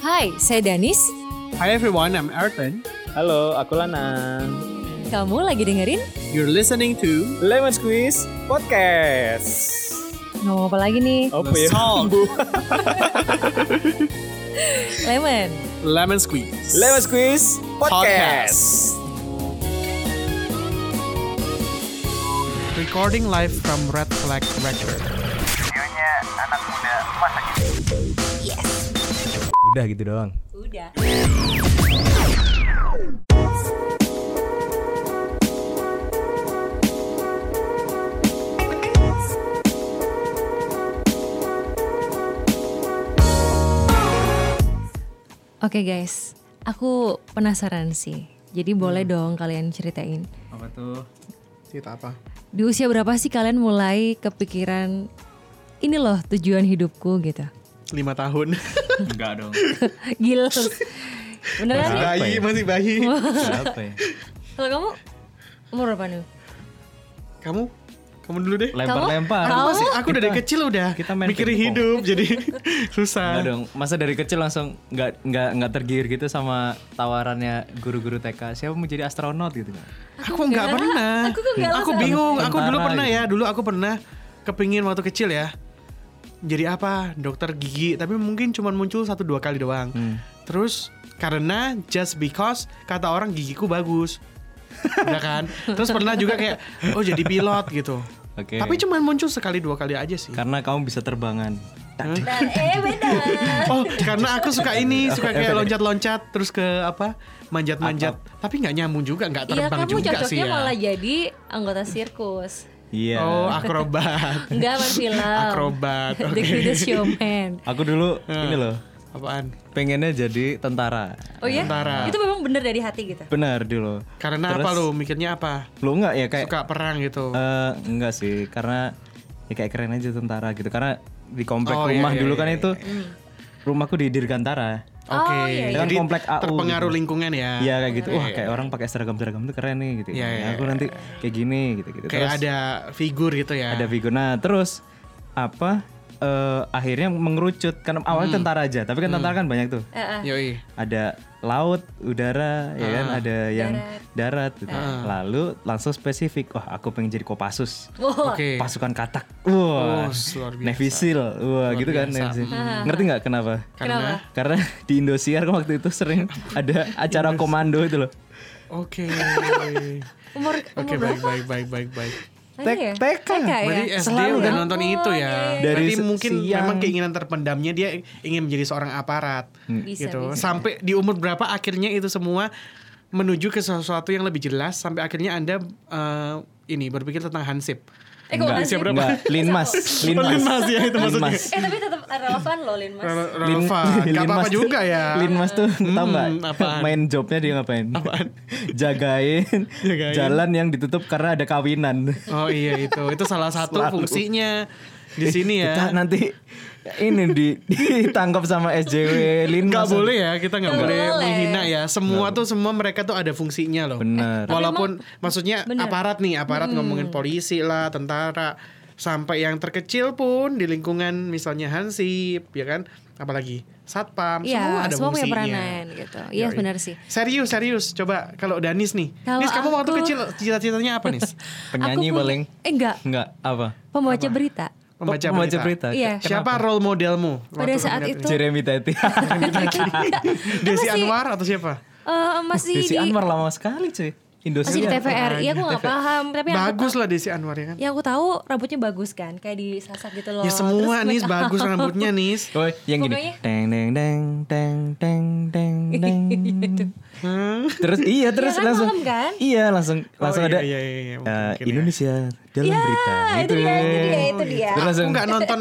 Hai, saya Danis. Hi everyone, I'm Arton. Halo, aku Lana. Kamu lagi dengerin? You're listening to Lemon Squeeze Podcast. Ngomong apa lagi nih? Apa The ya? Song Lemon. Lemon Squeeze. Lemon Squeeze Podcast. Recording live from Red Flag Record. Udah gitu doang. Udah. Oke guys, aku penasaran sih. Jadi boleh Hmm. dong kalian ceritain. Apa tuh? Cerita apa? Di usia berapa sih kalian mulai kepikiran ini loh tujuan hidupku gitu. Lima tahun. Enggak dong. Gila. Beneran nih? bayi, ya? masih bayi. Apa ya? Kalau kamu umur berapa nih? Kamu? Kamu dulu deh. Lempar-lempar. Kamu? Masih, aku dari kecil udah kita main mikirin ping pong. hidup, jadi Enggak susah. dong. Masa dari kecil langsung enggak enggak enggak tergiur gitu sama tawarannya guru-guru TK. Siapa mau jadi astronot gitu kan? Aku nggak pernah. Aku nggak Aku bingung. Tentara Aku dulu pernah ya. Dulu aku pernah kepingin waktu kecil ya. Jadi apa? Dokter gigi. Tapi mungkin cuma muncul satu dua kali doang. Hmm. Terus karena just because kata orang gigiku bagus. ya kan? Terus pernah juga kayak oh jadi pilot gitu. Oke. Tapi cuma muncul sekali dua kali aja sih. Karena kamu bisa terbangan. Nah, eh beda. Oh, karena aku suka ini, suka kayak loncat-loncat terus ke apa? manjat-manjat. Tapi nggak nyambung juga, nggak Iya terbang kamu juga cocoknya sih ya. malah jadi anggota sirkus. Iya. Oh, akrobat. Enggak main film. Akrobat, The oke. Greatest Showman. Aku dulu ini loh, Apaan? pengennya jadi tentara. Oh ya? Tentara. Itu memang bener dari hati gitu. Benar dulu. Karena apa lu mikirnya apa? Lu enggak ya kayak Suka perang gitu. Eh, enggak sih, karena ya kayak keren aja tentara gitu. Karena di komplek Oh, iya, rumah iya, dulu iya, Ah, kan itu rumahku di Dirgantara. Oke. Oh, iya, iya. Kan komplek AU terpengaruh lingkungan ya. Iya kayak gitu. Wah, kayak orang pakai seragam-seragam tuh keren nih gitu. Iya, Ya, iya, aku nanti kayak gini gitu-gitu. Kayak Iya, Terus ada figur gitu ya. ada figur. Nah, terus apa eh, akhirnya mengerucut karena awalnya Hmm. tentara aja, tapi kan tentara kan banyak tuh. Yoi. Ada laut, udara, ya kan Ah. ada yang darat gitu. Lalu langsung spesifik, wah aku pengen jadi Kopassus. Oh, Wow. Oke. pasukan katak. Oh, luar Wah, biasa. Hmm. Navy Seal. Wah, gitu kan Navy Seal. Ngerti nggak kenapa? Karena Karena di Indosiar waktu itu sering ada acara komando itu loh. Oke. Umur Oke, baik baik baik baik baik. Tek TK. Berarti ya? SD udah nonton Iya, itu ya. Dari Berarti se- mungkin siang. memang keinginan terpendamnya dia ingin menjadi seorang aparat Hmm. Bisa, gitu. bisa. Sampai di umur berapa akhirnya itu semua menuju ke sesuatu yang lebih jelas sampai akhirnya Anda eh, ini berpikir tentang Hansip. Eh kok masih? berapa? Enggak, Linmas, Linmas. Linmas ya, itu maksudnya. Linmas. Eh tapi tetap relevan loh Lin Mas. Rele- Lin- Relevan, gak apa-apa Linmas tuh- juga ya. Linmas tuh tau nggak? Hmm, apaan? Main jobnya dia ngapain? Jagain, Jagain. jalan yang ditutup karena ada kawinan. Oh iya itu, itu salah satu Selalu. fungsinya di sini Eh, ya. Kita nanti ini di ditangkap sama SJW Gak Linmas. boleh ya, kita gak Nggak boleh boleh. menghina ya. Semua tuh semua mereka tuh ada fungsinya loh. Bener. Walaupun maksudnya bener. aparat nih, aparat Hmm. ngomongin polisi lah, tentara, sampai yang terkecil pun di lingkungan misalnya Hansip, ya kan? Apalagi Satpam, semua Iya, ada semua punya fungsinya. peranan gitu. Iya Yoi. benar sih. Serius, serius. Coba kalau Danis nih. Kalau Nis, kamu waktu aku- kecil cita-citanya apa, Nis? Aku Penyanyi punya- paling. Eh enggak, Enggak, apa? pembaca berita. Membaca, Pembaca berita. berita. Iya. Eh, Siapa role modelmu? Pada waktu saat kamu lihat itu Kan Jeremy Teti. ini? Desi Anwar atau siapa? eh, masih Desi di Anwar lama sekali cuy. Indosiar. masih di TVR. Iya aku nggak paham, tapi yang aku, Bagus lah Desi Anwar ya kan. yang aku tahu rambutnya bagus kan, kayak disasar gitu loh. Ya semua Terus Nis make up. bagus rambutnya Nis. Oh, yang gini. Pokoknya- Iya, Deng deng deng deng deng deng deng. Hmm. terus iya terus kan, langsung malam kan? iya langsung langsung iya, ada iya, iya, iya, Oh, iya. mungkin, eh, mungkin ya. Indonesia dalam berita Ah, itu gitu. dia, itu dia, itu dia. Terus Aku langsung nggak nonton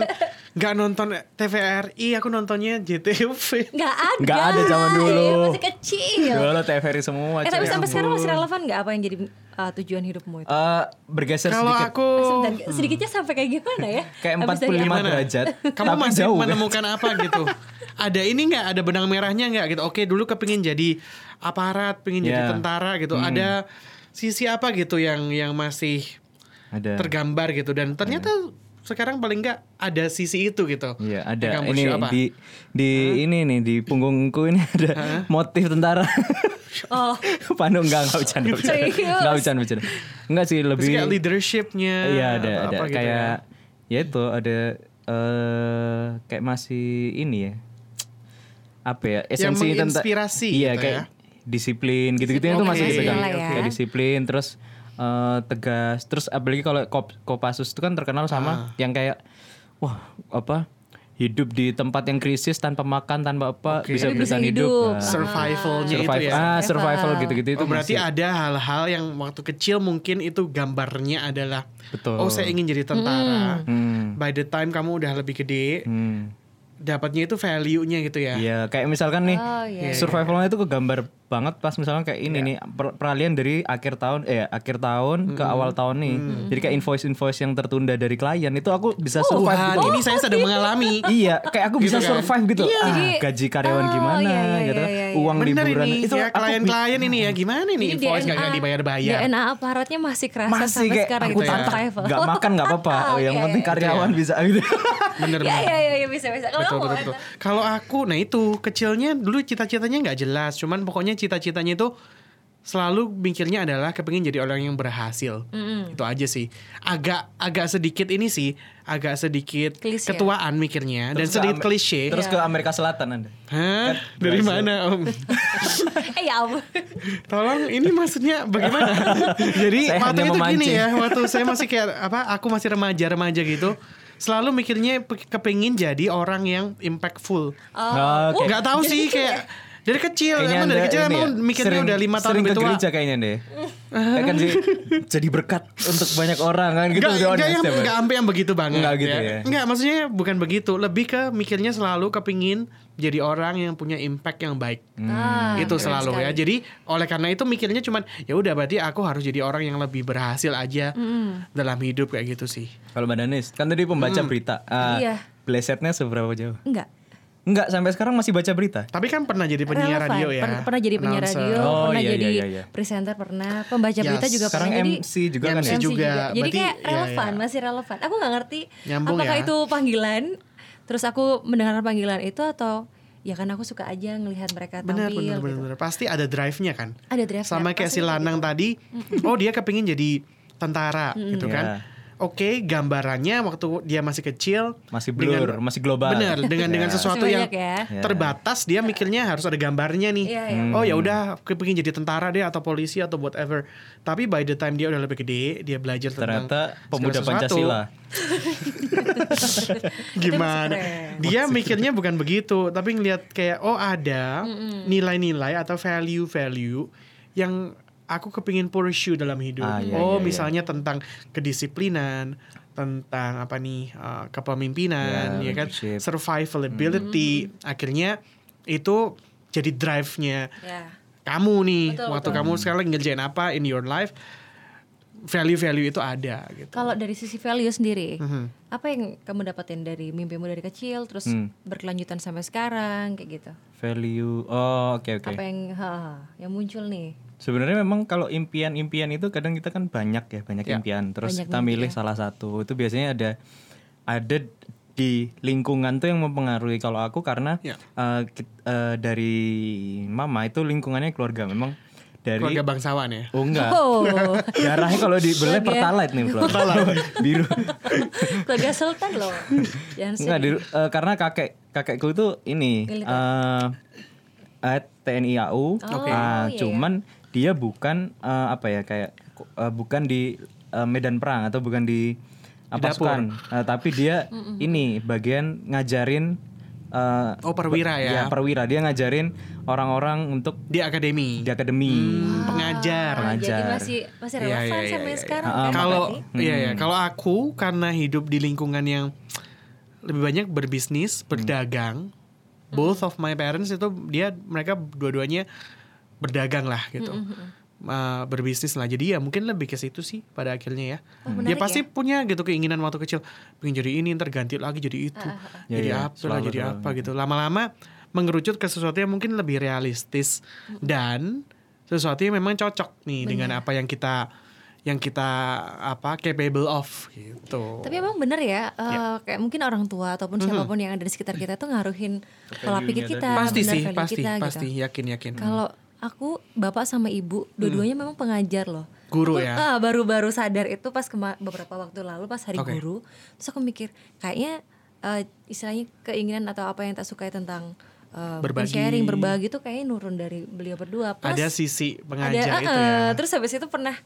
nggak nonton TVRI, aku nontonnya JTV. Nggak ada. Nggak ada zaman dulu. Iya, masih kecil. dulu TVRI semua. Eh tapi cuy. sampai sekarang masih relevan nggak apa yang jadi uh, tujuan hidupmu itu? Eh, bergeser Kalau sedikit aku Sebentar, sedikitnya sampai kayak gimana ya? Oh. kayak Habis dari 45 Gimana? derajat. kamu tapi masih jauh, kan? menemukan apa gitu? Ada ini nggak? Ada benang merahnya nggak gitu? Oke dulu kepingin jadi aparat, pengen jadi Ya. tentara gitu. Ada sisi apa gitu yang yang masih Ada. Iya. tergambar gitu dan ternyata sekarang paling nggak ada sisi itu gitu. Iya ada Di kampus ini apa? di di ini nih di punggungku ini ada motif tentara. Oh, Panu enggak enggak bercanda bercanda. Serius? Enggak bercanda bercanda. Enggak sih Terus lebih kayak leadershipnya. Iya ada atau ada apa gitu ya. kayak ya itu ada eh kayak masih ini ya apa ya esensi tentang menginspirasi iya gitu kayak ya. disiplin gitu-gitu itu Oke. iya, masih dipegang Disiplin lah ya. Kayak disiplin terus eh, tegas terus apalagi kalau kop- Kopassus itu kan terkenal Ah. sama yang kayak wah apa hidup di tempat yang krisis tanpa makan tanpa apa bisa Hidup bertahan bisa hidup, hidup. Nah, survivalnya survival itu ya. ah survival gitu-gitu itu Oh, berarti masih- ada hal-hal yang waktu kecil mungkin itu gambarnya adalah Betul. oh saya ingin jadi tentara. Hmm, By the time kamu udah lebih gede, hmm. dapatnya itu value-nya gitu ya. Iya, kayak misalkan nih Oh, iya, survivalnya itu kegambar banget pas misalnya kayak ini Iya. nih per- peralihan dari akhir tahun eh akhir tahun ke awal tahun nih. Jadi kayak invoice-invoice yang tertunda dari klien itu aku bisa Oh, survive Wah, gitu. "Oh, ini saya sedang mengalami. iya, kayak aku bisa kan? survive gitu. Iya, ah, jadi- gaji karyawan oh, gimana iya, iya, gitu. kan. iya, iya. Uang Bener liburan ini, itu ya aku bi- klien-klien ini ya gimana nih Jadi invoice nggak nggak DNA dibayar-bayar. DNA aparatnya masih kerasa masih sampai kayak sekarang aku gitu ya. tatap Survival. nggak makan nggak apa-apa. Oh, yang Iya, penting iya, karyawan bisa gitu. Bener Iya, bener. iya, iya, iya, bisa, bisa. Kalau Betul, kamu betul, betul. Kalau aku, nah itu kecilnya dulu cita-citanya nggak jelas, cuman pokoknya cita-citanya itu selalu mikirnya adalah kepengin jadi orang yang berhasil. Itu aja sih. Agak agak sedikit ini sih, agak sedikit Klise. ketuaan mikirnya dan Terus ke sedikit Amer- klise. Terus Iya. ke Amerika Selatan Anda. Hah? Dari mana, Om? eh ya ampun. Tolong ini maksudnya bagaimana? Jadi Saya waktu hanya itu gini memancing. ya, waktu saya masih kayak apa? Aku masih remaja-remaja gitu. Selalu mikirnya pe- kepengin jadi orang yang impactful. Oh. Oke. Nggak tahu sih kayak dari kecil, Iya, emang dari Anda kecil ini emang ya, mikirnya sering- udah lima tahun gitu sering gitu lebih ke tua. gereja kayaknya deh. Ya kan sih jadi berkat untuk banyak orang kan gitu Nggak, nggak udah honest yang ya, Bang. nggak sampai yang begitu banget. Nggak gitu ya. Nggak, maksudnya bukan begitu. Lebih ke mikirnya selalu kepingin jadi orang yang punya impact yang baik. Hmm. Ah, itu keren selalu ya. sekali. Jadi oleh karena itu mikirnya cuman ya udah berarti aku harus jadi orang yang lebih berhasil aja Hmm. dalam hidup kayak gitu sih. Kalau Mbak Danis, kan tadi pembaca Hmm. berita. Ah, Iya. Blesetnya seberapa jauh? Enggak. Enggak, sampai sekarang masih baca berita. Tapi kan pernah jadi penyiar Relevan. radio ya. Pern- pernah jadi penyiar announcer. Ya, radio, Oh, pernah iya, jadi iya, iya, iya. presenter, pernah pembaca Yes. berita juga Sekarang pernah. Jadi MC juga MC kan ya? MC juga. juga. Jadi Berarti- kayak iya, relevan, iya. masih relevan. Aku nggak ngerti Nyambung apakah ya. itu panggilan. Terus aku mendengar panggilan itu atau ya kan aku suka aja ngelihat mereka Bener, tampil. bener, bener, gitu. bener. Pasti ada drive-nya kan. Ada drive-nya, Sama kayak pasti si Lanang tadi, oh dia kepingin jadi tentara gitu kan. Iya. Oke, gambarannya waktu dia masih kecil Masih blur, masih global. Bener, dengan dengan Iya. sesuatu Masih yang banyak ya. Iya. Hmm. terbatas dia mikirnya harus ada gambarnya nih. Iya, iya. Oh ya udah, kepingin jadi tentara deh atau polisi atau whatever. Tapi by the time dia udah lebih gede, dia belajar tentang Ternyata segala pemuda sesuatu. Pancasila. Itu Gimana? keren. Dia mikirnya bukan begitu, tapi ngelihat kayak oh ada nilai-nilai atau value-value yang aku kepingin pursue dalam hidup. Ah, iya, oh, iya, iya. misalnya tentang kedisiplinan, tentang apa nih uh, kepemimpinan, Ya, ya kan, leadership. survivability. Akhirnya itu jadi drive-nya Ya. kamu nih. Betul, waktu betul. kamu sekarang ngerjain apa in your life, value-value itu ada gitu. Kalau dari sisi value sendiri, Mhm. apa yang kamu dapetin dari mimpimu dari kecil terus Hmm. berkelanjutan sampai sekarang kayak gitu? Value. Oh, oke oke. Apa yang ha, yang muncul nih? Sebenarnya memang kalau impian-impian itu kadang kita kan banyak ya, banyak impian. Terus Banyak kita mimpi milih salah satu. Itu biasanya ada ada di lingkungan tuh yang mempengaruhi kalau aku karena Ya. eh, kit- eh, dari mama itu lingkungannya keluarga memang dari Keluarga bangsawan ya. Oh enggak. Oh, Darahnya kalau Lagi dibelah ya. pertalite nih, Bro. Biru. keluarga Sultan loh. Jangan Enggak di- eh, karena kakek kakekku itu ini eh eh, TNI AU. Oke. Ah, iya, cuman dia bukan eh, apa ya kayak eh, bukan di eh, medan perang atau bukan di eh, pasukan, Eh, tapi dia ini bagian ngajarin eh, Oh, perwira ya. ya perwira dia ngajarin orang-orang untuk Di akademi. di akademi. Hmm, pengajar. Ah, Jadi pengajar. masih masih Iya, relevan iya, iya, sama yang iya, sekarang iya. kan? Kalau berarti? iya ya, kalau aku karena hidup di lingkungan yang lebih banyak berbisnis, berdagang. Both of my parents itu dia mereka dua-duanya berdagang lah gitu. Eh, berbisnis lah. Jadi ya mungkin lebih ke situ sih pada akhirnya ya. dia menarik pasti punya gitu keinginan waktu kecil pengen jadi ini, ntar ganti lagi jadi itu. Ya, Jadi ya, apa lah, selalu, jadi selalu. apa gitu. Lama-lama mengerucut ke sesuatu yang mungkin lebih realistis dan sesuatu yang memang cocok nih dengan apa yang kita yang kita apa capable of gitu. Tapi emang bener ya, eh, Iya. kayak mungkin orang tua ataupun Mm-hmm. siapapun yang ada di sekitar kita tuh ngaruhin pola pikir kita, pasti bener sih, value pasti, kita, pasti Mm-hmm. gitu. yakin yakin. Kalau aku bapak sama ibu, dua-duanya memang pengajar loh. Aku, Guru ya? ah, baru-baru sadar itu pas kema- beberapa waktu lalu pas hari Oke. guru, terus aku mikir kayaknya eh, istilahnya keinginan atau apa yang tak sukai tentang eh, Berbagi. sharing berbagi tuh kayaknya nurun dari beliau berdua. Plus, ada sisi ada pengajar eh, itu ya. terus habis itu pernah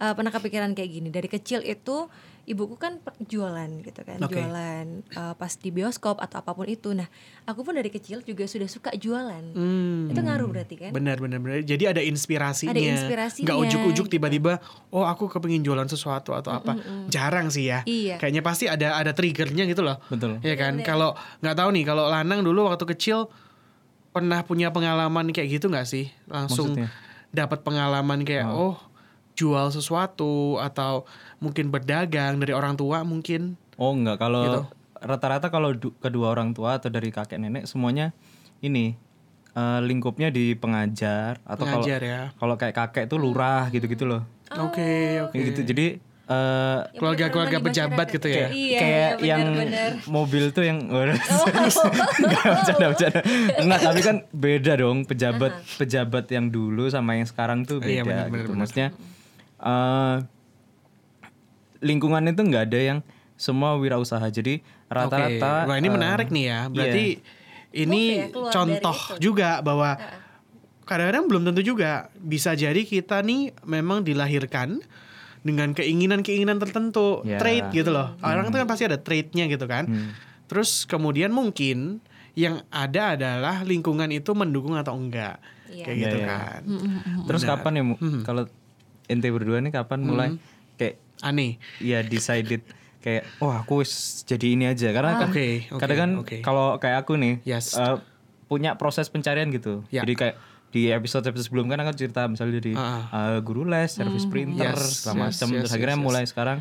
eh, pernah kepikiran kayak gini dari kecil itu ibuku kan per- jualan gitu kan Oke. jualan eh, pas di bioskop atau apapun itu nah aku pun dari kecil juga sudah suka jualan Hmm. itu ngaruh berarti kan Benar, benar, benar. Jadi ada inspirasinya. Ada inspirasinya, Nggak ujuk-ujuk gitu. Mm, tiba-tiba, oh aku kepengin jualan sesuatu atau apa. Jarang sih ya. Iya. Kayaknya pasti ada ada triggernya gitu loh. Betul. Iya kan? Kalau nggak tahu nih, kalau Lanang dulu waktu kecil pernah punya pengalaman kayak gitu nggak sih? Langsung Maksudnya? dapat pengalaman kayak oh jual sesuatu atau mungkin berdagang dari orang tua mungkin. Oh enggak kalau Gitu. rata-rata kalau du- kedua orang tua atau dari kakek nenek semuanya ini eh, lingkupnya di pengajar atau kalau Pengajar ya. kalau kayak kakek tuh lurah gitu-gitu loh. Oh. Oke, oke. Kayak Gitu. Jadi Yang eh, Keluarga-keluarga berperan di pejabat masyarakat. gitu ya. iya, iya, kayak Oh. yang benar-benar. mobil tuh yang Enggak, bercanda, bercanda. Enggak, tapi kan beda dong pejabat pejabat yang dulu sama yang sekarang tuh beda Iya, benar, benar, gitu. benar. Maksudnya eh, lingkungan itu nggak ada yang semua wirausaha. Jadi rata-rata Oke. Wah, ini eh, menarik nih ya. Berarti iya. ini Move ya, keluar contoh dari itu. juga bahwa kadang-kadang belum tentu juga bisa jadi kita nih memang dilahirkan dengan keinginan-keinginan tertentu, Ya. trait gitu loh. Orang tuh kan pasti ada traitnya gitu kan. Hmm. Terus kemudian mungkin yang ada adalah lingkungan itu mendukung atau enggak. Iya. hmm, Kayak Iya, gitu iya. kan. Terus kapan ya Mu? Hmm. kalau ente berdua nih kapan mulai kayak Aneh. ya decided kayak wah aku wis jadi ini aja karena kan Oke, oke, kadang kan oke. kalau kayak aku nih Yes. eh, punya proses pencarian gitu. Ya. Jadi kayak di episode episode sebelum kan aku cerita misalnya dari Ah, eh, guru les, servis Hmm, printer, Yes, segala yes, macam. yes, Terus yes, akhirnya yes. mulai sekarang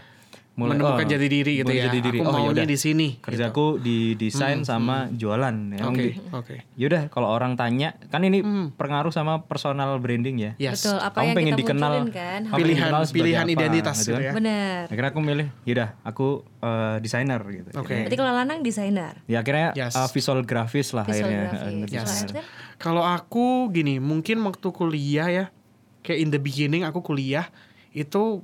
mulai Menemukan oh, jati diri gitu mulai ya. jati diri. Aku Oh, maunya yaudah. di sini, gitu. Hmm, Kerjaku di desain sama jualan. Emang Oke, Hmm. di- oke. Yaudah kalau orang tanya kan ini pengaruh sama personal branding ya. Yes. betul apa kamu yang pengen kita dikenal munculin kan kamu pengen Pilihan- dikenal sebagai pilihan apa, identitas gitu gitu kan. ya. bener akhirnya aku milih yaudah aku eh, desainer gitu Oke. berarti kalau lanang desainer ya akhirnya Yes. eh, visual grafis lah visual akhirnya grafis eh, Visual desainer. arts kan Kalau aku gini, mungkin waktu kuliah ya, kayak in the beginning aku kuliah itu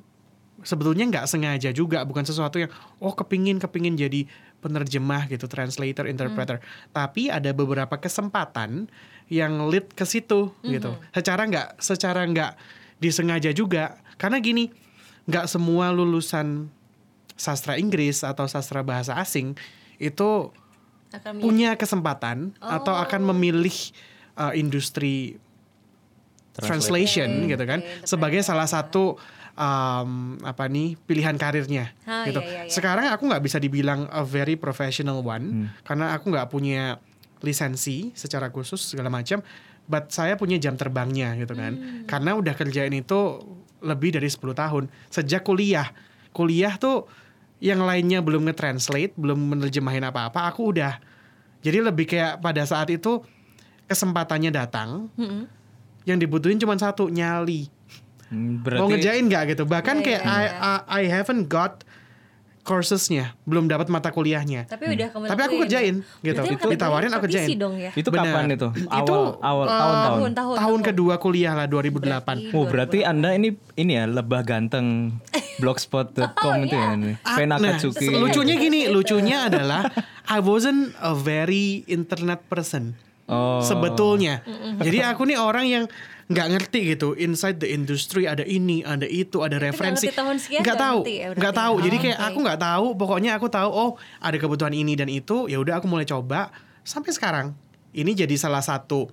sebetulnya nggak sengaja juga, bukan sesuatu yang oh kepingin kepingin jadi penerjemah gitu, translator, interpreter. Tapi ada beberapa kesempatan yang lead ke situ gitu. Secara nggak, secara nggak disengaja juga, karena gini, nggak semua lulusan sastra Inggris atau sastra bahasa asing itu akan punya kesempatan atau Oh. akan memilih uh, industri translation gitu kan Oke, sebagai salah satu um, apa nih pilihan karirnya Ah, gitu. iya, iya, iya. Sekarang aku nggak bisa dibilang a very professional one karena aku nggak punya lisensi secara khusus segala macam, but saya punya jam terbangnya gitu kan. Hmm. Karena udah kerjain itu lebih dari 10 tahun sejak kuliah. Kuliah tuh yang lainnya belum nge-translate, belum menerjemahin apa-apa, aku udah. Jadi lebih kayak pada saat itu kesempatannya datang, Mm-mm. yang dibutuhin cuma satu nyali Hmm, mau berarti ngerjain nggak gitu bahkan Iya, kayak iya, I, I, I haven't got coursesnya belum dapat mata kuliahnya tapi udah kamu Hmm. tapi aku lakuin. kerjain gitu Berarti itu kamu ditawarin aku kompetisi kerjain dong ya itu Benar. kapan itu Itu, awal awal eh, tahun-tahun tahun tahun tahun kedua kuliah lah 2008 Berarti- Oh berarti anda ini ini ya lebah ganteng Oh, blogspot.com itu iya. ya ini. Ah, Pena nah, Katsuki. lucunya gini lucunya adalah I wasn't a very internet person Oh. sebetulnya jadi aku nih orang yang nggak ngerti gitu inside the industry ada ini ada itu ada referensi ngerti tahun sekian nggak nggak tahu ngerti ya berarti. nggak tahu jadi Oh, kayak oke. aku nggak tahu pokoknya aku tahu oh ada kebutuhan ini dan itu ya udah aku mulai coba sampai sekarang ini jadi salah satu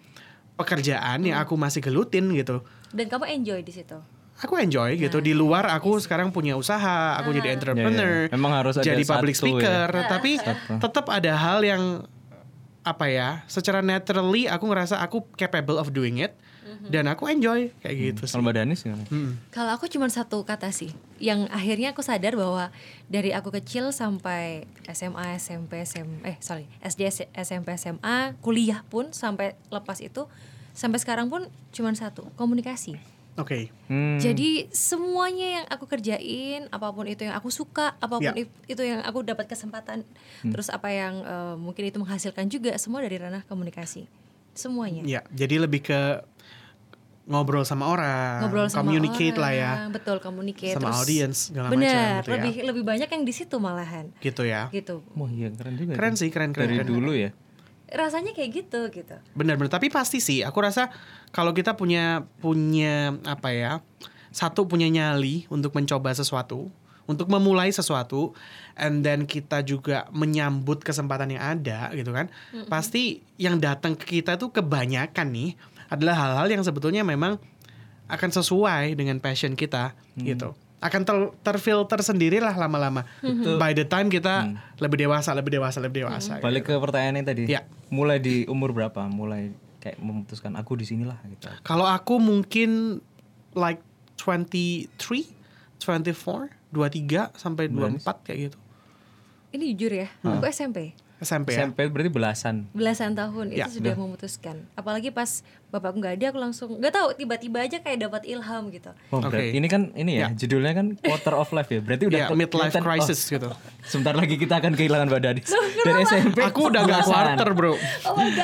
pekerjaan yang aku masih gelutin gitu dan kamu enjoy di situ aku enjoy Nah, gitu di luar iya aku sekarang punya usaha aku Ah. jadi entrepreneur Ya, ya. Memang harus ada jadi public satu speaker Iya. ya. tapi Satu. tetap ada hal yang apa ya secara naturally aku ngerasa aku capable of doing it Mm-hmm. dan aku enjoy kayak gitu sih Hmm, Kalau Mbak Danis gimana? Kalau aku cuma satu kata sih, yang akhirnya aku sadar bahwa dari aku kecil sampai SMA, SMP, SM, eh sorry SD, S- SMP, SMA, kuliah pun sampai lepas itu, sampai sekarang pun cuma satu komunikasi. Oke. Hmm. Jadi semuanya yang aku kerjain, apapun itu yang aku suka, apapun Ya. Hmm. i- itu yang aku dapat kesempatan, terus apa yang eh, mungkin itu menghasilkan juga semua dari ranah komunikasi. Semuanya. Ya, jadi lebih ke ngobrol sama orang, Ngobrol sama communicate orang, lah ya, Betul, communicate sama terus- audience segala Bener, macam gitu lebih ya. lebih banyak yang di situ malahan. Gitu ya. Gitu. Wah iya keren juga. Keren itu. sih, keren keren. Dari keren. dulu ya. Rasanya kayak gitu gitu. Benar-benar. Tapi pasti sih, aku rasa kalau kita punya punya apa ya, satu punya nyali untuk mencoba sesuatu, untuk memulai sesuatu, and then kita juga menyambut kesempatan yang ada gitu kan. Pasti yang datang ke kita tuh kebanyakan nih adalah hal-hal yang sebetulnya memang akan sesuai dengan passion kita Hmm. gitu. Akan ter- terfilter sendirilah lama-lama. By the time kita lebih dewasa, lebih dewasa, lebih dewasa. gitu. Hmm. Balik ke pertanyaan yang tadi. Iya. Mulai di umur berapa? Mulai kayak memutuskan aku di sinilah gitu. Kalau aku mungkin like 23, 24, 23 sampai 24 kayak gitu. Ini jujur ya, aku SMP. SMP ya. SMP berarti belasan. belasan tahun Ya, itu sudah memutuskan apalagi pas bapakku nggak ada aku langsung nggak tahu tiba-tiba aja kayak dapat ilham gitu Oh, Oke. berarti ini kan ini ya, judulnya kan quarter of life ya. Berarti udah Ya, ke- midlife kelihatan- crisis oh, gitu. sebentar lagi kita akan kehilangan Mbak Dadis. Dari SMP Aku udah nggak belasan. quarter, Oh Bro.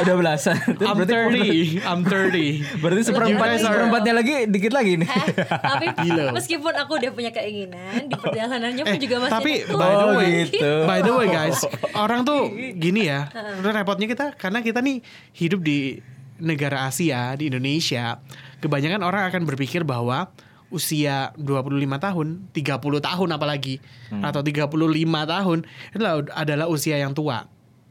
udah belasan. I'm berarti quarter- 30, I'm 30. Berarti seperempat guys are- seperempatnya lagi dikit lagi nih. Eh, tapi meskipun aku udah punya keinginan di perjalanannya pun Eh, juga masih tapi ada by the tuh. Iya. way, gitu. by the way guys, orang tuh gini ya. Repotnya kita karena kita nih hidup di negara Asia, di Indonesia, kebanyakan orang akan berpikir bahwa usia 25 tahun, 30 tahun apalagi atau 35 tahun itulah adalah usia yang tua.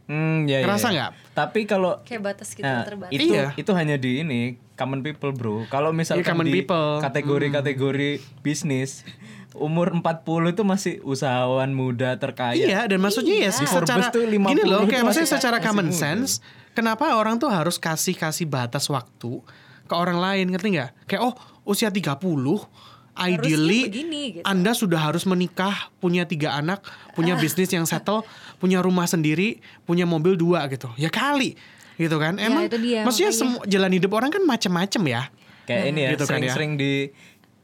Hmm, ya, ya, Ngerasa ya. nggak? Tapi kalau kayak batas gitu Nah, terbatas itu Iya. itu hanya di ini common people bro kalau misalkan Iya, common di people. Hmm. kategori-kategori bisnis umur 40 itu masih usahawan muda terkaya Iya, dan maksudnya ya sih Forbes secara tuh 50 gini loh, kayak itu maksudnya masih- secara masih common muda. sense, kenapa orang tuh harus kasih-kasih batas waktu ke orang lain, ngerti nggak? Kayak oh, usia 30 Ideally, begini, gitu. Anda sudah harus menikah, punya tiga anak, punya bisnis yang settle, punya rumah sendiri, punya mobil dua gitu. Ya kali, gitu kan? Ya, Emang, itu dia, maksudnya makanya. semu- jalan hidup orang kan macem-macem ya. kayak ini ya Gitu kan ya. sering-sering di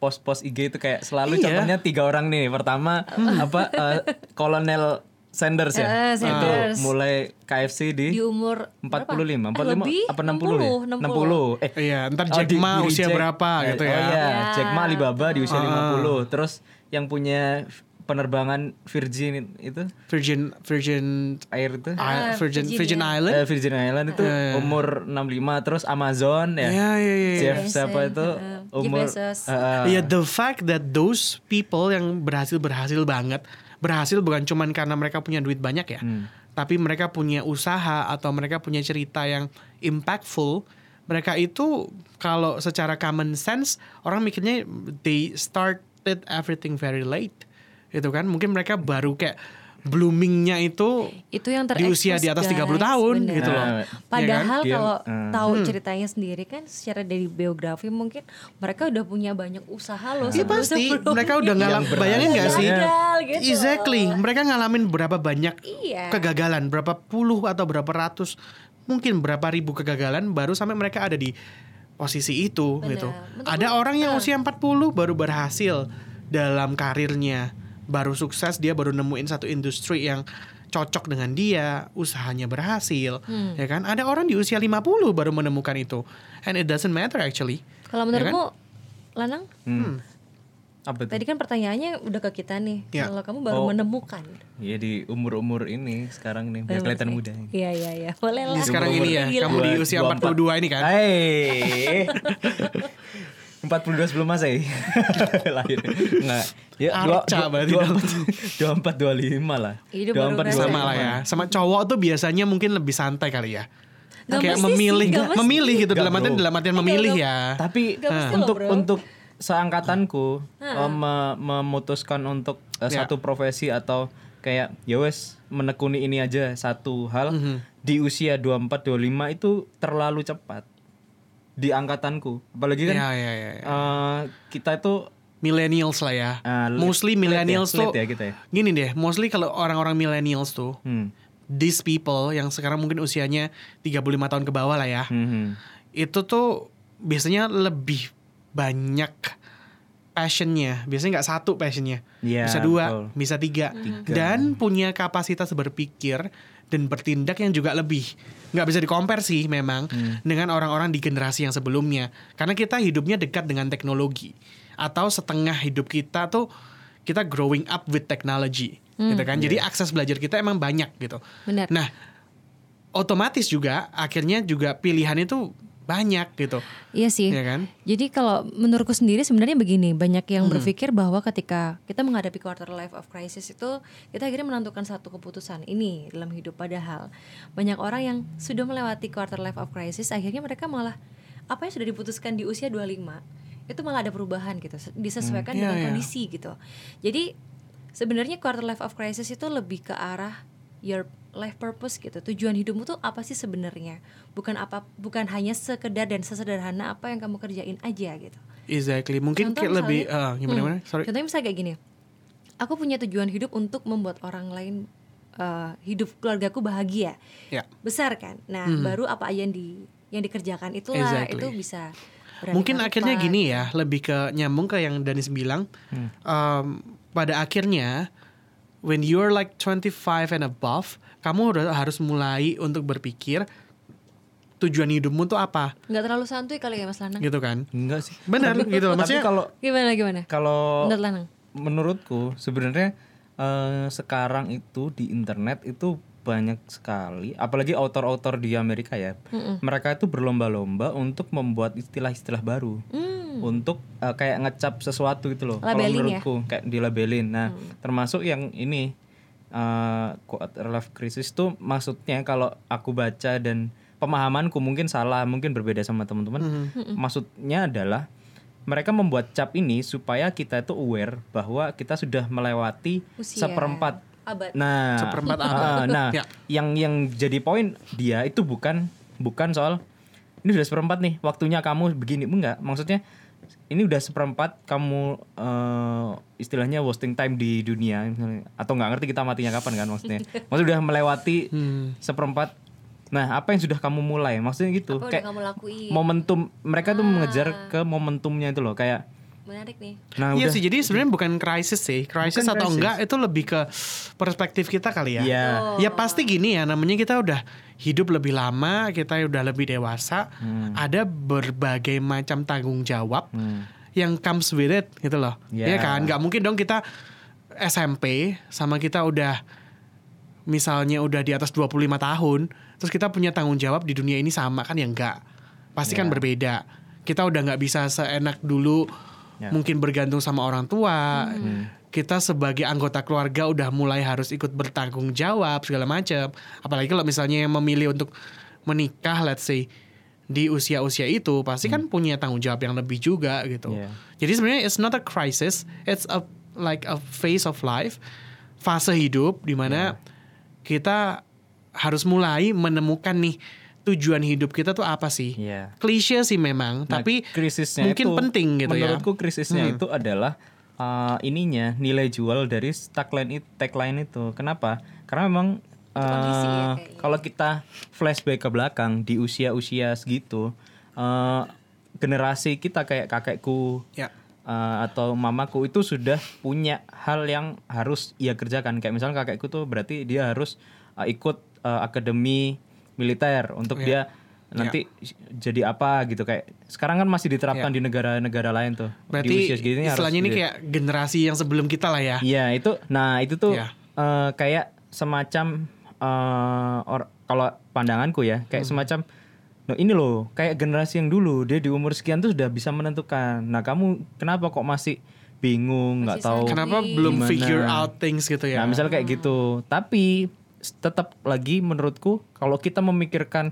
pos-pos IG itu kayak Iya. selalu Hmm. contohnya tiga orang nih pertama apa eh, kolonel Sanders Eh, ya Sanders. itu mulai KFC di, di umur berapa? Eh, 45 45 Lebih? apa 60 ya 60. 60 eh Iya, ntar Oh, Jack di- Ma diri usia Jack. berapa Eh, gitu oh ya. Ah. iya, Ya. Jack Ma Alibaba di usia 50. Terus yang punya penerbangan Virgin itu Virgin Virgin air itu I- Virgin Virgin Island. eh, Virgin Island itu umur 65 terus Amazon ya. Iya, iya, iya. Jeff Bezos, siapa itu heeh. Jeff umur eh, Bezos. heeh. Ya the fact that those people yang berhasil berhasil banget berhasil bukan cuman karena mereka punya duit banyak ya, tapi mereka punya usaha atau mereka punya cerita yang impactful. Mereka itu kalau secara common sense orang mikirnya they started everything very late, itu kan mungkin mereka baru kayak bloomingnya itu itu yang di usia di atas 30 terekspos, guys. tahun Bener. gitu loh. Hmm. Nah, Ya kan? Padahal Dia- kalau tahu ceritanya sendiri kan secara dari biografi mungkin mereka udah punya banyak usaha loh. Iya sebelum- pasti sebelum- mereka udah ngalam berhasil. bayangin gak sih? Gagal Iya. gitu. Exactly, mereka ngalamin berapa banyak Iya. kegagalan, berapa puluh atau berapa ratus, mungkin berapa ribu kegagalan baru sampai mereka ada di posisi itu Benar. gitu. Menurut Ada lu- orang yang usia 40 baru berhasil dalam karirnya, baru sukses, dia baru nemuin satu industri yang cocok dengan dia, usahanya berhasil, Hmm. ya kan? Ada orang di usia 50 baru menemukan itu. And it doesn't matter actually. Kalau menurutmu kan? Lanang, Hmm. Apa tuh? tadi kan pertanyaannya udah ke kita nih. Ya. Kalau kamu baru Oh. menemukan. Ya di umur-umur ini sekarang nih biar kelihatan muda. Iya iya iya, boleh lah. Iya. Ini sekarang ini ya, Gila. kamu di Dua- usia dua 42 ini kan. Hai. 42 sebelum Masehi. Lahir. Enggak. Ya Arca berarti dong. 24 25 lah. Iya, dia baru ngerasa. sama lah ya. Sama cowok tuh biasanya mungkin lebih santai kali ya. Nggak kayak mesti sih, memilih, nggak mesti. memilih gitu Nggak, dalam artian bro. dalam artian memilih ya. Tapi Nggak mesti loh, untuk bro. Ah. untuk seangkatanku eh, me- memutuskan untuk eh, Ya. satu profesi atau kayak ya wes menekuni ini aja satu hal Mhm. di usia 24 25 itu terlalu cepat di angkatanku. Apalagi kan Ya ya ya. ya. eh, kita itu Millennials lah ya. Ah, late- mostly millennials late ya, tuh. late ya kita ya. Gini deh, mostly kalau orang-orang millennials tuh, hmm, these people yang sekarang mungkin usianya 35 tahun ke bawah lah ya. hmm, hmm. Itu tuh biasanya lebih banyak passionnya biasanya nggak satu passionnya Iya, bisa dua betul. bisa tiga. dan punya kapasitas berpikir dan bertindak yang juga lebih nggak bisa dikompar sih memang Hmm. dengan orang-orang di generasi yang sebelumnya karena kita hidupnya dekat dengan teknologi atau setengah hidup kita tuh kita growing up with technology gitu kan Iya. jadi akses belajar kita emang banyak gitu Benar. nah otomatis juga akhirnya juga pilihan itu banyak gitu Iya sih. Iya kan? Jadi kalau menurutku sendiri sebenarnya begini, banyak yang berpikir bahwa ketika kita menghadapi quarter life of crisis itu kita akhirnya menentukan satu keputusan ini dalam hidup padahal banyak orang yang sudah melewati quarter life of crisis akhirnya mereka malah apa yang sudah diputuskan di usia 25 itu malah ada perubahan gitu disesuaikan Hmm. dengan Iya, iya. kondisi gitu. Jadi sebenarnya quarter life of crisis itu lebih ke arah your life purpose gitu tujuan hidupmu tuh apa sih sebenarnya bukan apa bukan hanya sekedar dan sesederhana apa yang kamu kerjain aja gitu exactly mungkin Contoh kayak lebih misalnya- eh, gimana gimana Hmm. sorry Contohnya misalnya kayak gini. Aku punya tujuan hidup untuk membuat orang lain eh, hidup keluargaku bahagia. Ya. Besar kan? Nah, baru apa aja yang di yang dikerjakan itulah Hmm. Exactly. itu bisa beraneka Mungkin rupa. akhirnya gini ya, lebih ke nyambung ke yang Danis bilang. Hmm. Em, pada akhirnya, when you're like 25 and above, kamu udah harus mulai untuk berpikir tujuan hidupmu tuh apa, nggak terlalu santuy kali ya Mas Lanang. gitu kan? Enggak sih. Benar, Tapi- gitu loh. Tapi Maksudnya- kalau Gimana gimana? Oh. kalau Menurut Lanang. menurutku sebenarnya eh, sekarang itu di internet itu banyak sekali apalagi author-author di Amerika ya mereka itu berlomba-lomba untuk membuat istilah-istilah baru Hmm, untuk eh, kayak ngecap sesuatu gitu loh kalau Labelling ya? Hmm. menurutku kayak dilabelin nah termasuk yang ini eh quarter life crisis tuh maksudnya kalau aku baca dan pemahamanku mungkin salah mungkin berbeda sama teman-teman Hmm. maksudnya adalah mereka membuat cap ini supaya kita itu aware bahwa kita sudah melewati Usia. seperempat Abad. nah Seperempat ah, abad. nah Ya. yang yang jadi poin dia itu bukan bukan soal ini udah seperempat nih waktunya kamu begini enggak maksudnya ini udah seperempat kamu eh, istilahnya wasting time di dunia misalnya. atau nggak ngerti kita matinya kapan kan maksudnya maksudnya udah melewati seperempat nah apa yang sudah kamu mulai maksudnya gitu Apa udah kayak kamu lakuin? momentum mereka tuh mengejar ke momentumnya itu loh kayak Menarik nih. nah Iya udah sih, jadi sebenarnya bukan krisis sih, krisis Bukan atau krisis. enggak itu lebih ke perspektif kita kali ya. Iya. Ya pasti gini ya, namanya kita udah hidup lebih lama, kita udah lebih dewasa, ada berbagai macam tanggung jawab Hmm, yang comes with it gitu loh. Iya. Iya kan? Gak mungkin dong kita SMP sama kita udah misalnya udah di atas 25 tahun, terus kita punya tanggung jawab di dunia ini sama kan ya enggak. Pasti kan berbeda. Kita udah nggak bisa seenak dulu Ya. mungkin bergantung sama orang tua. Kita sebagai anggota keluarga udah mulai harus ikut bertanggung jawab segala macam. Apalagi kalau misalnya yang memilih untuk menikah let's say di usia-usia itu pasti kan Hmm. punya tanggung jawab yang lebih juga gitu. Iya. Jadi sebenarnya it's not a crisis, it's a like a phase of life, fase hidup di mana kita harus mulai menemukan nih tujuan hidup kita tuh apa sih. Iya. Klise sih memang, Nah, tapi krisisnya mungkin itu, penting gitu ya. menurutku krisisnya itu adalah uh, ininya nilai jual dari tagline itu, tagline itu. Kenapa? Karena memang uh, kondisi ya kayaknya. kalau kita flashback ke belakang di usia-usia segitu uh, generasi kita kayak kakekku Ya. uh, atau mamaku itu sudah punya hal yang harus ia kerjakan. Kayak misalnya kakekku tuh berarti dia harus uh, ikut uh, akademi militer untuk Iya. dia nanti jadi apa gitu kayak sekarang kan masih diterapkan di negara-negara lain tuh di Iya. Berarti usia segini harus istilahnya ini jadi- kayak generasi yang sebelum kita lah ya. Iya itu, nah itu tuh Iya. eh, kayak semacam eh, or- kalau pandanganku ya Hmm. kayak semacam, "Loh, ini loh kayak generasi yang dulu dia di umur sekian tuh sudah bisa menentukan. Nah kamu kenapa kok masih bingung nggak Masih tahu? Kenapa Wih. belum Gimana? figure out things gitu ya? Nah misal kayak gitu, tapi s- tetap lagi menurutku kalau kita memikirkan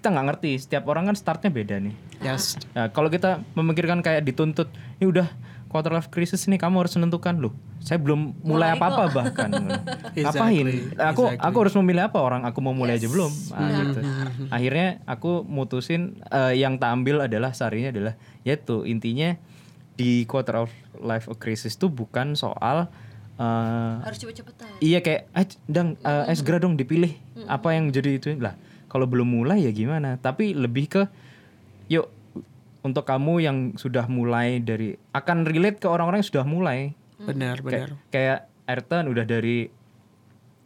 kita nggak ngerti setiap orang kan startnya beda nih. Yes. Ya, kalau kita memikirkan kayak dituntut, ini udah quarter life crisis nih kamu harus menentukan loh. Saya belum mulai apa-apa bahkan. Ngapain? Aku aku harus memilih apa orang? Aku mau mulai aja belum. Ah, gitu. Akhirnya aku mutusin eh, yang tak ambil adalah sarinya adalah yaitu intinya di quarter of life crisis itu bukan soal eh, Harus cepet-cepetan. Iya kayak eh dang eh, es segera dong dipilih apa yang jadi itu lah. Kalau belum mulai ya gimana? Tapi lebih ke yuk untuk kamu yang sudah mulai dari akan relate ke orang-orang yang sudah mulai benar benar Kayak- kayak Ayrton udah dari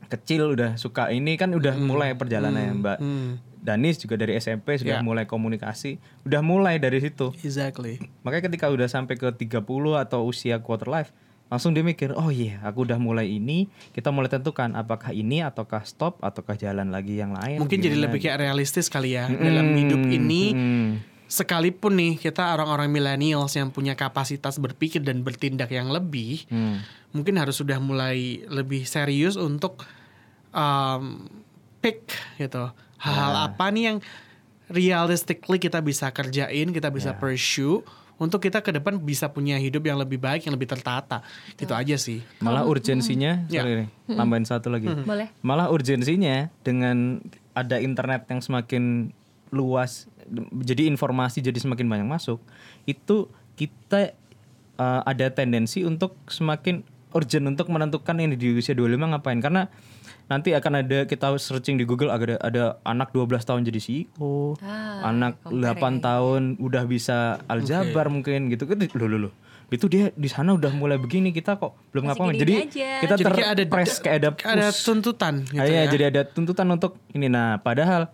kecil udah suka ini kan udah mulai perjalanannya Mbak Hmm, Danis juga dari SMP Ya. sudah mulai komunikasi udah mulai dari situ exactly Makanya ketika udah sampai ke 30 atau usia quarter life, langsung dia mikir, oh iya, aku udah mulai ini, kita mulai tentukan apakah ini ataukah stop ataukah jalan lagi yang lain. mungkin jadi Iya, gimana. lebih kayak realistis kali ya dalam Mm, hidup ini mm. sekalipun nih kita orang-orang milenials yang punya kapasitas berpikir dan bertindak yang lebih Hmm. mungkin harus sudah mulai lebih serius untuk um, pick gitu hal-hal Ya. apa nih yang realistically kita bisa kerjain kita bisa Ya. pursue untuk kita ke depan bisa punya hidup yang lebih baik yang lebih tertata gitu aja sih Malah urgensinya, Ya. Hmm. sorry nih, tambahin satu lagi. Boleh. Iya Malah urgensinya dengan ada internet yang semakin luas, jadi informasi jadi semakin banyak masuk, itu kita uh, ada tendensi untuk semakin urgent untuk menentukan yang di usia 25 ngapain karena nanti akan ada kita searching di Google ada ada anak 12 tahun jadi CEO, Ah, anak 8 tahun udah bisa aljabar mungkin gitu. Kan Loh loh loh. Itu dia di sana udah mulai begini kita kok belum ngapain. gini-gini Jadi aja. kita Jadi kayak ada- terpres kayak ada ada Ya, push. tuntutan gitu Ah, iya, ya jadi ada tuntutan untuk ini. Nah, padahal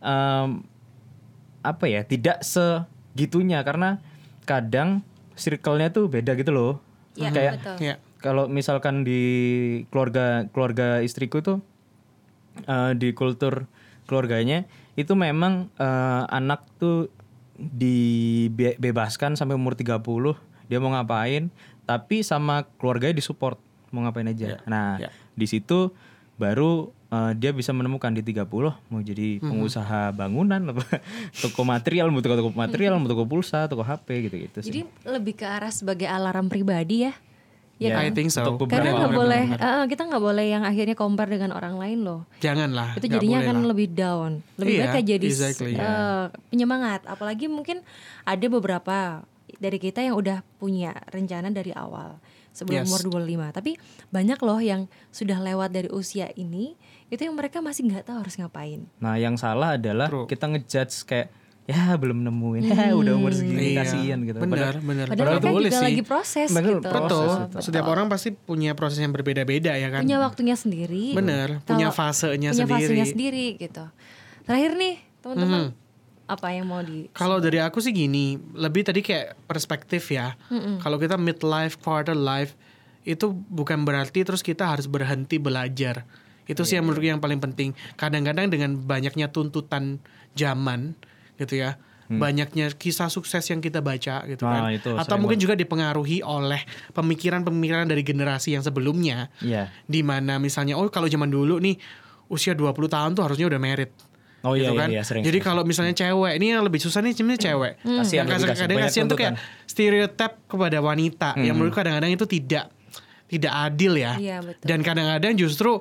em, apa ya? Tidak segitunya karena kadang circle-nya tuh beda gitu loh. Iya, Kayak betul. Iya. kalau misalkan di keluarga keluarga istriku tuh eh, di kultur keluarganya itu memang eh, anak tuh dibebaskan sampai umur 30 dia mau ngapain tapi sama keluarganya disupport mau ngapain aja. Nah, ya. di situ baru eh, dia bisa menemukan di 30 mau jadi Hmm. pengusaha bangunan apa toko material, mau toko-toko material, mau toko pulsa, toko HP gitu-gitu sih. Jadi lebih ke arah sebagai alarm pribadi ya. Ya, I think so Iya. Untuk karena beberapa nggak boleh eh, kita nggak boleh yang akhirnya compare dengan orang lain loh. janganlah Itu Nah, nggak jadinya kan boleh akan lah. lebih down. Lebih Iya, baik kayak jadi exactly. eh, penyemangat. Apalagi mungkin ada beberapa dari kita yang udah punya rencana dari awal sebelum Yes. umur 25. Tapi banyak loh yang sudah lewat dari usia ini itu yang mereka masih nggak tahu harus ngapain. Nah, yang salah adalah True. kita ngejudge kayak ya belum nemuin, ya udah umur segini Iya. kasihan gitu. benar Padahal benar Padahal mereka boleh juga sih. lagi proses Betul, gitu. Betul. Proses Betul. Setiap orang pasti punya proses yang berbeda-beda ya kan. punya waktunya sendiri. Bener, Kalau- punya fasenya punya sendiri. Hmm. fasenya sendiri gitu. Terakhir nih, teman-teman, apa yang mau di Kalau dari aku sih gini, lebih tadi kayak perspektif ya. Kalau kita midlife, quarter life itu bukan berarti terus kita harus berhenti belajar. Itu Iya, sih yang menurutku yang paling penting. Kadang-kadang dengan banyaknya tuntutan zaman gitu ya. Banyaknya kisah sukses yang kita baca gitu Ah, kan. Hmm. itu Atau sering mungkin juga dipengaruhi oleh pemikiran-pemikiran dari generasi yang sebelumnya. Iya. di mana misalnya oh kalau zaman dulu nih usia 20 tahun tuh harusnya udah merit. Oh iya, Gitu iya, iya, sering, Jadi sering. Hmm. kalau misalnya cewek, ini yang lebih susah nih sebenarnya cewek. Kasihan, Yang lebih kasihan. kadang Banyak kasihan tuh kayak tuntutan. stereotip kepada wanita Hmm. yang menurut kadang-kadang itu tidak tidak adil ya. Iya, betul. Dan kadang-kadang justru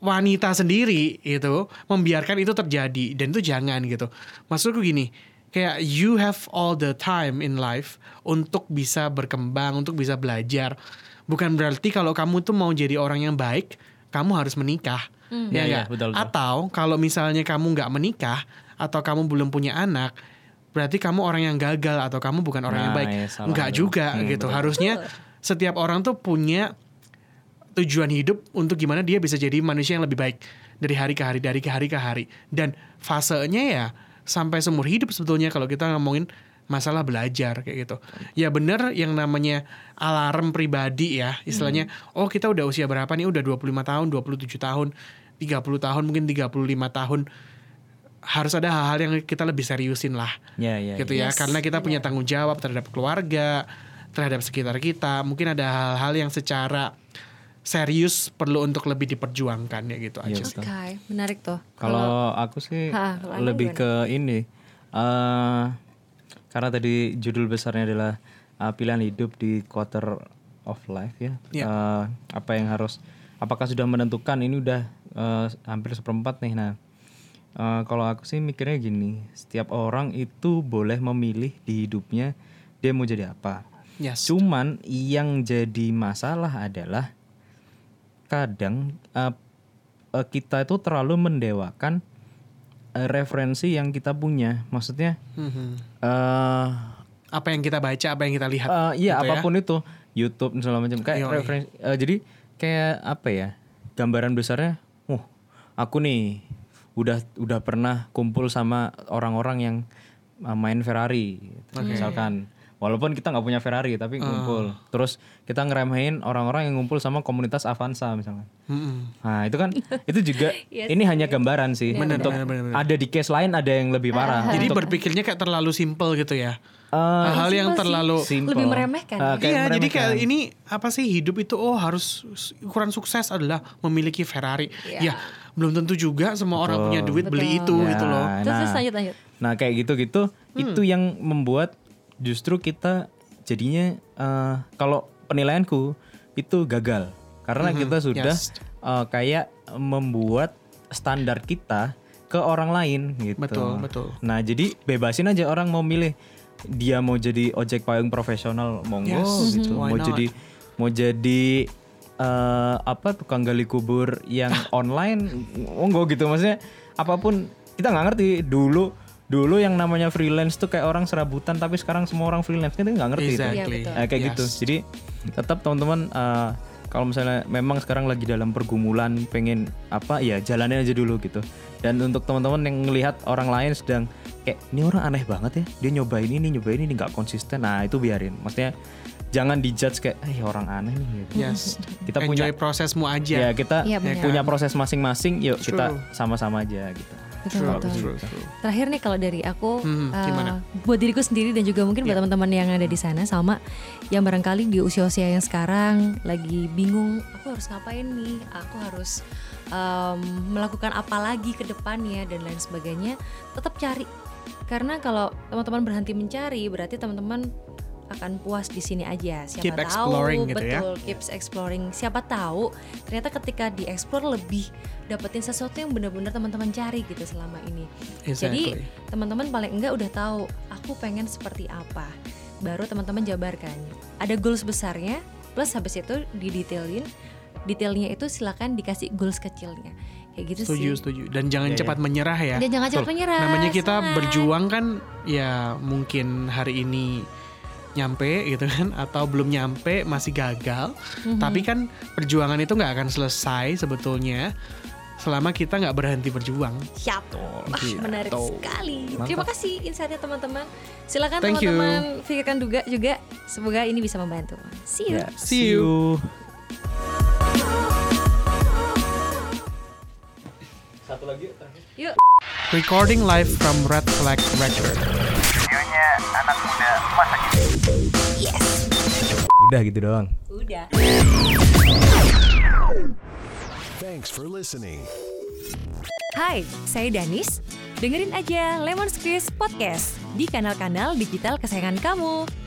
wanita sendiri itu membiarkan itu terjadi dan itu jangan gitu. Maksudku gini, kayak you have all the time in life untuk bisa berkembang, untuk bisa belajar. Bukan berarti kalau kamu tuh mau jadi orang yang baik, kamu harus menikah. Iya, Ya, iya, nggak? betul, betul. Atau kalau misalnya kamu nggak menikah atau kamu belum punya anak, berarti kamu orang yang gagal atau kamu bukan orang yang Nah, baik. iya, salah Nggak tuh. juga Hmm, gitu. betul. Harusnya setiap orang tuh punya tujuan hidup untuk gimana dia bisa jadi manusia yang lebih baik dari hari ke hari dari ke hari ke hari dan fasenya ya sampai seumur hidup sebetulnya kalau kita ngomongin masalah belajar kayak gitu ya bener yang namanya alarm pribadi ya istilahnya Hmm. oh kita udah usia berapa nih udah 25 tahun 27 tahun 30 tahun mungkin 35 tahun harus ada hal-hal yang kita lebih seriusin lah Ya, ya. gitu ya. ya karena kita punya tanggung jawab terhadap keluarga terhadap sekitar kita mungkin ada hal-hal yang secara serius perlu untuk lebih diperjuangkan ya gitu aja Oke, menarik tuh. Kalau aku sih Ha, kalau Anda lebih ke ini. eh karena tadi judul besarnya adalah eh, pilihan hidup di quarter of life ya. Iya. Eh, apa yang harus apakah sudah menentukan ini udah eh, hampir seperempat nih. Nah, eh, kalau aku sih mikirnya gini, setiap orang itu boleh memilih di hidupnya dia mau jadi apa. yes Cuman yang jadi masalah adalah kadang eh, eh, kita itu terlalu mendewakan eh, referensi yang kita punya. Maksudnya eh Mhm. Apa yang kita baca, apa yang kita lihat. eh, iya gitu ya. apapun itu YouTube dan segala macam kayak Yoi. referensi eh, jadi kayak apa ya? Gambaran besarnya, uh aku nih udah udah pernah kumpul sama orang-orang yang eh, main Ferrari Gitu, misalkan. Walaupun kita nggak punya Ferrari Ah. tapi ngumpul. Terus kita ngeremehin orang-orang yang ngumpul sama komunitas Avanza misalkan. Mm-mm. Nah itu kan itu juga Iya ini hanya gambaran sih untuk ada di case lain ada yang lebih parah. Jadi berpikirnya kayak terlalu simple gitu ya. Eh, Hal yang terlalu simple. Lebih meremehkan. Eh, kayak iya, jadi meremehkan. kayak ini apa sih hidup itu oh harus ukuran sukses adalah memiliki Ferrari. Ya, belum tentu juga semua orang punya duit beli itu Ya, gitu loh. Terus, terus lanjut lanjut. Iya. Nah kayak gitu-gitu Hmm. itu yang membuat justru kita jadinya eh, kalau penilaianku itu gagal karena kita sudah Hmm, yes. eh, kayak membuat standar kita ke orang lain gitu. Betul, betul. Nah jadi bebasin aja orang mau milih dia mau jadi ojek payung profesional monggo Yes, Mm-hmm. gitu, why mau not? jadi mau jadi eh, apa tukang gali kubur yang online monggo gitu maksudnya apapun kita nggak ngerti dulu dulu yang namanya freelance tuh kayak orang serabutan tapi sekarang semua orang freelance kita nggak ngerti itu. Exactly. Iya, Eh, kayak gitu Yes. jadi tetap teman-teman eh, kalau misalnya memang sekarang lagi dalam pergumulan pengen apa ya jalanin aja dulu gitu dan untuk teman-teman yang ngelihat orang lain sedang kayak ini orang aneh banget ya dia nyobain ini nyobain ini nggak konsisten nah itu biarin maksudnya jangan dijudge kayak eh orang aneh nih gitu. Yes. kita punya Enjoy prosesmu ya aja. kita Iya, benar. punya proses masing-masing yuk kita True. sama-sama aja gitu Betul betul. Terakhir nih kalau dari aku Hmm, eh, gimana? Iya. buat diriku sendiri dan juga mungkin buat teman-teman yang ada di sana sama yang barangkali di usia-usia yang sekarang lagi bingung aku harus ngapain nih, aku harus em, melakukan apa lagi ke depannya dan lain sebagainya, tetap cari. Karena kalau teman-teman berhenti mencari berarti teman-teman akan puas di sini aja. Siapa Keep tahu exploring gitu ya. betul keeps exploring. Siapa tahu ternyata ketika dieksplor lebih dapetin sesuatu yang benar-benar teman-teman cari gitu selama ini. Jadi Exactly. teman-teman paling enggak udah tahu aku pengen seperti apa. Baru teman-teman jabarkan. Ada goals besarnya plus habis itu didetailin. Detailnya itu silakan dikasih goals kecilnya. Kayak gitu setuju, sih. setuju. Dan jangan Ya, cepat menyerah ya. Dan jangan cepat menyerah. Namanya kita semangat. berjuang kan ya mungkin hari ini nyampe gitu kan atau belum nyampe masih gagal. Mhm. Tapi kan perjuangan itu nggak akan selesai sebetulnya selama kita nggak berhenti berjuang. Siap. Wah, Iya, menarik sekali. Terima kasih insightnya teman-teman. Silakan Thank you. teman-teman pikirkan juga juga. Semoga ini bisa membantu. See you. Ya. See Ya, you Yuk. Recording live from Red Flag Record. udah gitu doang Udah. Thanks for listening. Hai, saya Danis. Dengerin aja Lemon Squeeze Podcast di kanal-kanal digital kesayangan kamu.